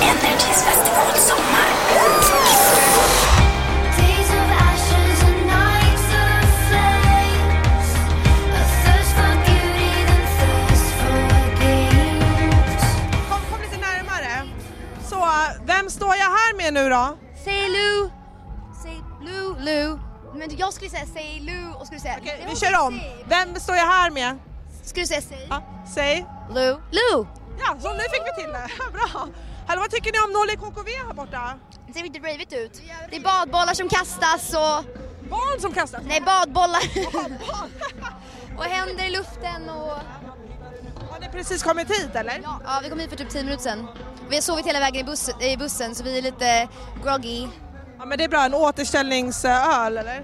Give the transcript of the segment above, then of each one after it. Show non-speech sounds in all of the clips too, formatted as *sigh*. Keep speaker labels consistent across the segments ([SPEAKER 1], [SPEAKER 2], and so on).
[SPEAKER 1] Energys festivalsommar.
[SPEAKER 2] Days of ashes and nights of flames. A thirst for beauty, then thirst for games.
[SPEAKER 3] Kom, kom lite närmare. Så, vem står jag här med nu då?
[SPEAKER 4] Säg Lu! Säg Lu, Lu. Men jag skulle säga säg Lu och skulle säga...
[SPEAKER 3] Okej,
[SPEAKER 4] Nej,
[SPEAKER 3] vi
[SPEAKER 4] hon
[SPEAKER 3] kör
[SPEAKER 4] sa
[SPEAKER 3] om.
[SPEAKER 4] säg.
[SPEAKER 3] Vem står jag här med?
[SPEAKER 4] Skulle du säga säg?
[SPEAKER 3] Ja, säg.
[SPEAKER 4] Lu. Lu!
[SPEAKER 3] Ja, så nu fick vi till det. *laughs* Bra. Hallå, vad tycker ni om Nolly KKV här borta?
[SPEAKER 4] Det ser inte rivigt ut. Det är badbollar som kastas och...
[SPEAKER 3] Barn som kastar.
[SPEAKER 4] Nej, badbollar. och händer i luften och...
[SPEAKER 3] Har ni precis kommit hit eller?
[SPEAKER 4] Ja, ja, vi kom hit för typ 10 minuter sedan. Vi har sovit hela vägen i, buss, i bussen så vi är lite groggy.
[SPEAKER 3] Ja, men det är bra. En återställningsöl eller?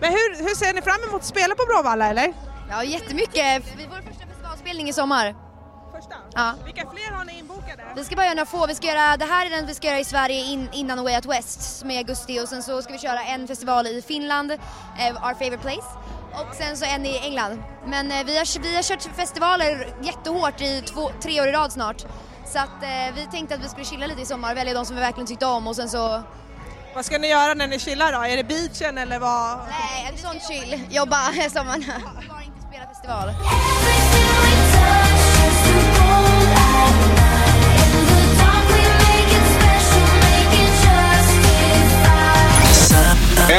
[SPEAKER 3] Men hur, hur ser ni fram emot att spela på Bråvalla eller?
[SPEAKER 4] Ja, jättemycket. Vi vår första festivalspelning i sommar.
[SPEAKER 3] Första?
[SPEAKER 4] Ja.
[SPEAKER 3] Vilka fler har ni inbokade?
[SPEAKER 4] Vi ska bara göra några få. Vi ska göra, det här är den vi ska göra i Sverige in, innan Way Out West som är i augusti och sen så ska vi köra en festival i Finland, eh, Our Favorite Place och sen så en i England. Men eh, vi, har, vi har kört festivaler jättehårt i två, tre år i rad snart. Så att eh, vi tänkte att vi skulle chilla lite i sommar, välja de som vi verkligen tyckte om och sen så...
[SPEAKER 3] Vad ska ni göra när ni chillar då? Är det beachen eller vad?
[SPEAKER 4] Nej, en sån eh, chill. Jobba sommaren. *laughs* Bara inte spela festival.
[SPEAKER 2] Everything we touch turns to gold at night. In the dark, we make it special, make it justified.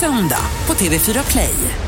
[SPEAKER 5] söndag på TV4 Play.